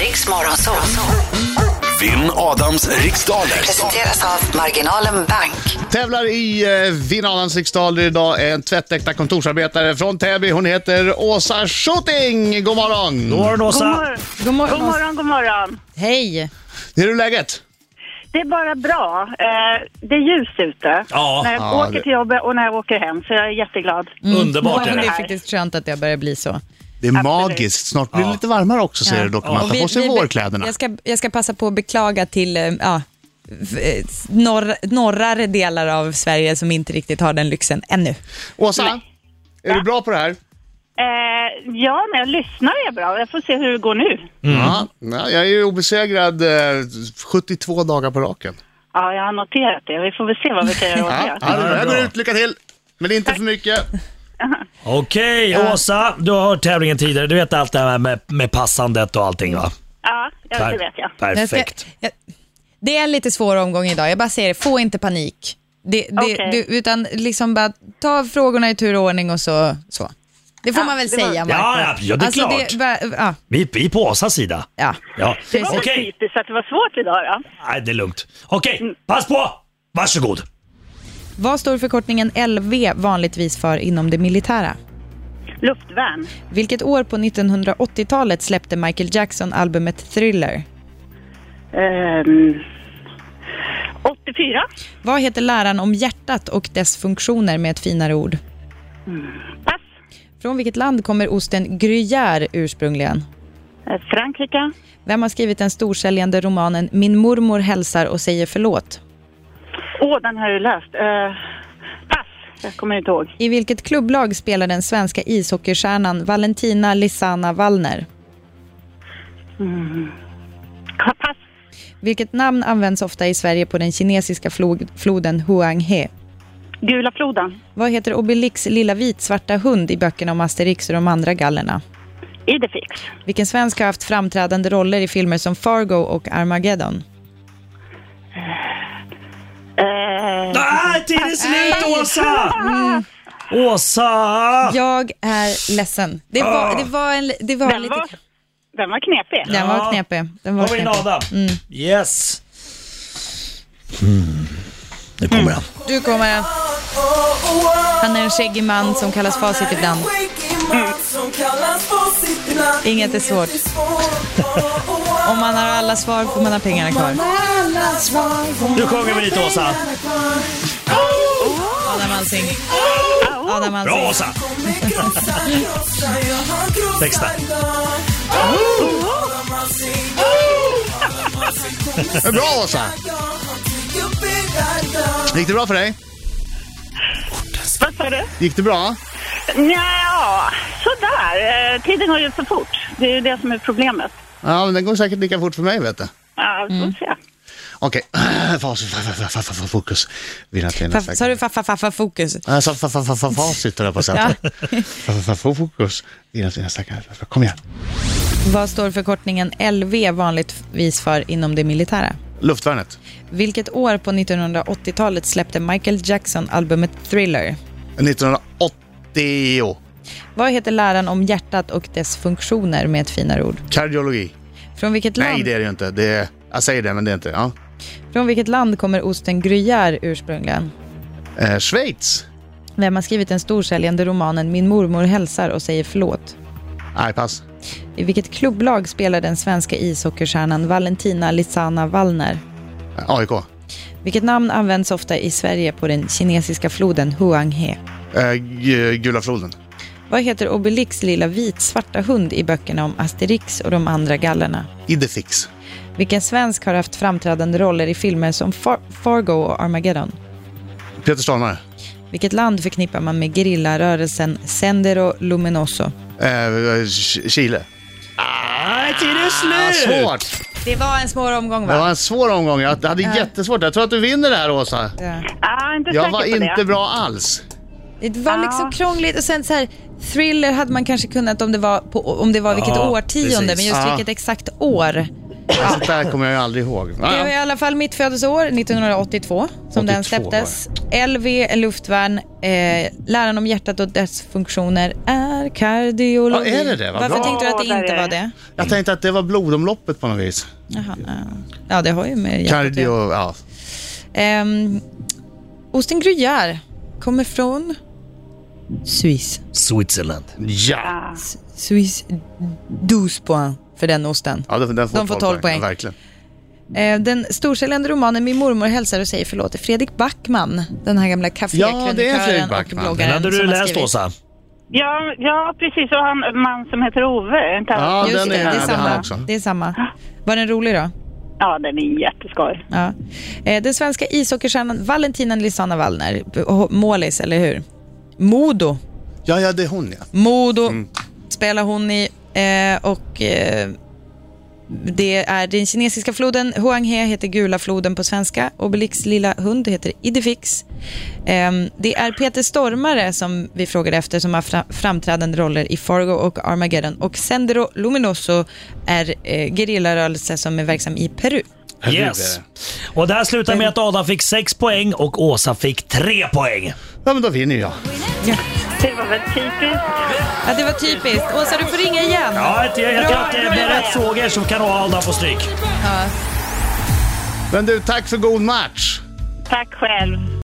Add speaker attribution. Speaker 1: Riks Morgonzoo.
Speaker 2: Vinn Adams riksdaler.
Speaker 1: Presenteras av Marginalen Bank.
Speaker 3: Tävlar i eh, Vinnarens riksdaler idag är en tvättäkta kontorsarbetare från Täby. Hon heter Åsa Schutting. God morgon!
Speaker 4: God morgon
Speaker 5: God
Speaker 4: Åsa!
Speaker 5: morgon.
Speaker 6: God morgon.
Speaker 5: God morgon, god morgon.
Speaker 6: Hej!
Speaker 3: Hur är läget?
Speaker 5: Det är bara bra. Eh, det är ljust ute
Speaker 4: Ja.
Speaker 5: när jag
Speaker 3: Ja,
Speaker 5: åker
Speaker 3: det-
Speaker 5: till jobbet och när jag åker hem, så jag är jätteglad.
Speaker 4: Underbart
Speaker 6: Ja,
Speaker 4: är
Speaker 6: men det är
Speaker 4: det.
Speaker 6: faktiskt skönt att jag börjar bli så.
Speaker 3: Det är magiskt. Snart blir det
Speaker 4: Ja.
Speaker 3: lite varmare också säger
Speaker 6: Ja.
Speaker 3: du dock. Man
Speaker 6: Och
Speaker 3: tar
Speaker 6: vi-
Speaker 3: på sig
Speaker 6: vi-
Speaker 3: vårkläderna.
Speaker 6: Jag ska, jag ska passa på att beklaga till eh, ja, f- eh, norr, norrare delar av Sverige som inte riktigt har den lyxen ännu.
Speaker 3: Åsa, är du bra på det här?
Speaker 5: Eh, ja, när jag lyssnar är jag bra. Jag får se hur det går nu.
Speaker 6: Mm.
Speaker 3: Ja, Ja, jag är ju obesegrad eh, 72 dagar på raken.
Speaker 5: Ja, jag har noterat det. Vi får väl se vad vi kan göra åt
Speaker 3: Ja,
Speaker 5: det.
Speaker 3: ja,
Speaker 4: Ja,
Speaker 3: det här
Speaker 4: bra.
Speaker 3: går ut. Lycka till! Men det är inte för mycket.
Speaker 4: Okej Åsa, du har hört tävlingen tidigare. Du vet allt det här med, med passandet och allting va?
Speaker 5: Ja, ja, det vet jag.
Speaker 6: Jag ska-
Speaker 4: Perfekt.
Speaker 6: jag, det är en lite svår omgång idag. Jag bara säger det, få inte panik. Det, det,
Speaker 5: Okej.
Speaker 6: du, utan liksom bara ta frågorna i tur och ordning och så. så. Det får man väl
Speaker 5: det var-
Speaker 6: säga, Marco.
Speaker 4: Ja, ja, ja, det är klart.
Speaker 6: bara- ja,
Speaker 4: Vi, vi är på Åsas sida.
Speaker 6: ja.
Speaker 4: Ja.
Speaker 5: Det var
Speaker 4: Okej,
Speaker 5: väl typiskt att det var svårt idag då.
Speaker 4: Nej, det är lugnt. Okej, pass på! Varsågod.
Speaker 6: Vad står förkortningen LV vanligtvis för inom det militära?
Speaker 5: Luftvärn.
Speaker 6: Vilket år på 1980-talet släppte Michael Jackson albumet Thriller?
Speaker 5: Ehm, 84.
Speaker 6: Vad heter läran om hjärtat och dess funktioner med ett finare ord?
Speaker 5: Pass.
Speaker 6: Från vilket land kommer osten Gruyère ursprungligen?
Speaker 5: Eh, Frankrike.
Speaker 6: Vem har skrivit den storsäljande romanen Min mormor hälsar och säger förlåt?
Speaker 5: Åh, den har jag ju läst. Eh, pass. Jag kommer inte ihåg.
Speaker 6: I vilket klubblag spelar den svenska ishockeystjärnan Valentina Lisana Wallner?
Speaker 5: Pass.
Speaker 6: Vilket namn används ofta i Sverige på den kinesiska flod- floden Huanghe?
Speaker 5: Gula floden.
Speaker 6: Vad heter Obelix lilla vitsvarta hund i böckerna om Asterix och de andra gallerna?
Speaker 5: Idefix.
Speaker 6: Vilken svensk har haft framträdande roller i filmer som Fargo och Armageddon?
Speaker 5: Eh,
Speaker 4: Nej, tiden är slut Åsa! Åsa!
Speaker 6: Jag är ledsen. Det
Speaker 4: Ah.
Speaker 6: var, det var en... Det var
Speaker 5: den,
Speaker 6: lite,
Speaker 5: var, den var knepig.
Speaker 6: den
Speaker 4: Ja.
Speaker 6: var knepig. Den var
Speaker 4: Då var vi
Speaker 6: knepig.
Speaker 4: nada. Yes. Mm. Nu kommer han.
Speaker 6: Du kommer den. Han är en skäggig man som kallas Facit ibland. Mm. Inget är svårt. Om man har alla svar får man ha pengarna kvar.
Speaker 4: Nu sjunger vi lite Åsa.
Speaker 6: Adam Alsing. Adam
Speaker 4: Ah. Bra
Speaker 6: Alsing.
Speaker 4: Åsa! Texta.
Speaker 7: Texta.
Speaker 3: Bra Åsa! Gick det bra för dig?
Speaker 5: Vad sa du?
Speaker 3: Gick det bra?
Speaker 5: Nja, sådär. Eh, Tiden går ju för fort. Det är ju det som är problemet.
Speaker 3: Ja, men den går säkert lika fort för mig vet du.
Speaker 5: Ja, vi får se.
Speaker 3: Okej, Fas- fa- fa- fa- fa- fa- fa- fokus. Vinna till nästa
Speaker 6: Fa- Sa du fa, fa, fa, fa, fokus?
Speaker 3: Ja, Jag sa fa- fa- fa- fa- facit höll jag på att säga.
Speaker 6: Ja.
Speaker 3: Fa- fa- fa- Fokus. Dina fina stackare. Kom igen.
Speaker 6: Vad står förkortningen LV vanligtvis för inom det militära?
Speaker 3: Luftvärnet.
Speaker 6: Vilket år på 1980-talet släppte Michael Jackson albumet Thriller?
Speaker 3: 1980.
Speaker 6: Vad heter läran om hjärtat och dess funktioner med ett finare ord?
Speaker 3: Kardiologi.
Speaker 6: Från vilket land,
Speaker 3: Nej, det är det ju inte. Det är, jag säger det, men det är inte. Ja.
Speaker 6: Från vilket land kommer osten Gruyère ursprungligen?
Speaker 3: Eh, Schweiz.
Speaker 6: Vem har skrivit den storsäljande romanen Min mormor hälsar och säger förlåt?
Speaker 3: Nej, pass.
Speaker 6: I vilket klubblag spelar den svenska ishockeystjärnan Valentina Lisana Wallner?
Speaker 3: Eh, AIK.
Speaker 6: Vilket namn används ofta i Sverige på den kinesiska floden Huanghe?
Speaker 3: Eh, Gu- Gula floden.
Speaker 6: Vad heter Obelix lilla vitsvarta hund i böckerna om Asterix och de andra gallerna?
Speaker 3: Idefix.
Speaker 6: Vilken svensk har haft framträdande roller i filmer som Far- Fargo och Armageddon?
Speaker 3: Peter Stormare.
Speaker 6: Vilket land förknippar man med gerillarörelsen Sendero Luminoso?
Speaker 3: Eh, Ch- Chile.
Speaker 4: Nej, tiden är
Speaker 3: Ah,
Speaker 4: slut!
Speaker 3: svårt.
Speaker 6: Det var en svår omgång
Speaker 3: Det
Speaker 6: va?
Speaker 3: var en svår omgång. Jag hade jättesvårt. Jag tror att du vinner det här, Åsa.
Speaker 6: Ja.
Speaker 5: Ja, inte
Speaker 3: Jag
Speaker 5: säker
Speaker 3: var
Speaker 5: på
Speaker 3: inte
Speaker 5: det.
Speaker 3: bra alls.
Speaker 6: Det var liksom krångligt och sen så här, thriller hade man kanske kunnat om det var, på, om det var vilket
Speaker 4: Ja,
Speaker 6: årtionde,
Speaker 4: precis.
Speaker 6: men just
Speaker 3: Ja.
Speaker 6: vilket exakt år.
Speaker 3: Sånt där kommer jag ju aldrig ihåg.
Speaker 6: Det
Speaker 3: Ja,
Speaker 6: var i
Speaker 3: ja.
Speaker 6: alla fall mitt födelseår, 1982, som den
Speaker 3: 82 var det.
Speaker 6: släpptes. LV, en luftvärn, eh, läran om hjärtat och dess funktioner är kardiologi.
Speaker 3: Ja, är det det? Vad
Speaker 6: Varför
Speaker 3: bra.
Speaker 6: tänkte du att det
Speaker 5: Ja, där
Speaker 6: inte
Speaker 5: är
Speaker 6: var
Speaker 5: det.
Speaker 6: det?
Speaker 3: Jag tänkte att det var blodomloppet på något vis.
Speaker 6: Jaha, ja. ja, det har ju med hjärtat att
Speaker 3: Cardio,
Speaker 6: göra.
Speaker 3: ja.
Speaker 6: Ehm, Osten Gruyère kommer från Suisse.
Speaker 4: Switzerland.
Speaker 3: Ja,
Speaker 6: Suisse 12 poäng för den osten.
Speaker 3: ja den, den får
Speaker 6: De får 12 poäng.
Speaker 3: Ja, verkligen.
Speaker 6: Eh, Den storsäljande romanen Min mormor hälsar och säger förlåt är Fredrik Backman, den här gamla
Speaker 3: Ja, det är Fredrik
Speaker 6: kafékrönikören och
Speaker 3: Backman.
Speaker 4: Den
Speaker 6: bloggaren.
Speaker 4: hade du
Speaker 6: som har
Speaker 4: läst
Speaker 6: Eh, skrivit-
Speaker 4: Åsa.
Speaker 5: Ja, ja precis. Och han, en man som heter Ove. Inte han?
Speaker 3: Ja,
Speaker 6: Just
Speaker 3: den
Speaker 6: det,
Speaker 3: är,
Speaker 6: det är
Speaker 3: det är han
Speaker 6: samma.
Speaker 3: också.
Speaker 6: Det är samma. Var den rolig då?
Speaker 5: ja, den är jätteskoj.
Speaker 6: Ja. Eh, Den svenska ishockeystjärnan Valentina Lisanna Wallner, h- målis, eller hur? Modo,
Speaker 3: Ja, ja, det är hon ja.
Speaker 6: Modo spelar hon i eh, och eh, det är den kinesiska floden Huanghe heter gula floden på svenska. Obelix lilla hund heter Idefix. Ehm, det är Peter Stormare som vi frågade efter som har fra- framträdande roller i Fargo och Armageddon. Och Sendero Luminoso är eh, gerillarörelse som är verksam i Peru.
Speaker 4: Yes. Och det här slutar med att Adam fick 6 poäng och Åsa fick 3 poäng.
Speaker 3: Ja, men då vinner jag.
Speaker 5: Det var väl typiskt.
Speaker 6: Ja, det var typiskt. Åsa, du får ringa igen.
Speaker 4: Ja, jag, jag, jag tror att det med rätt frågor så kan Adam få stryk.
Speaker 3: Men du, tack för god match.
Speaker 5: Tack själv.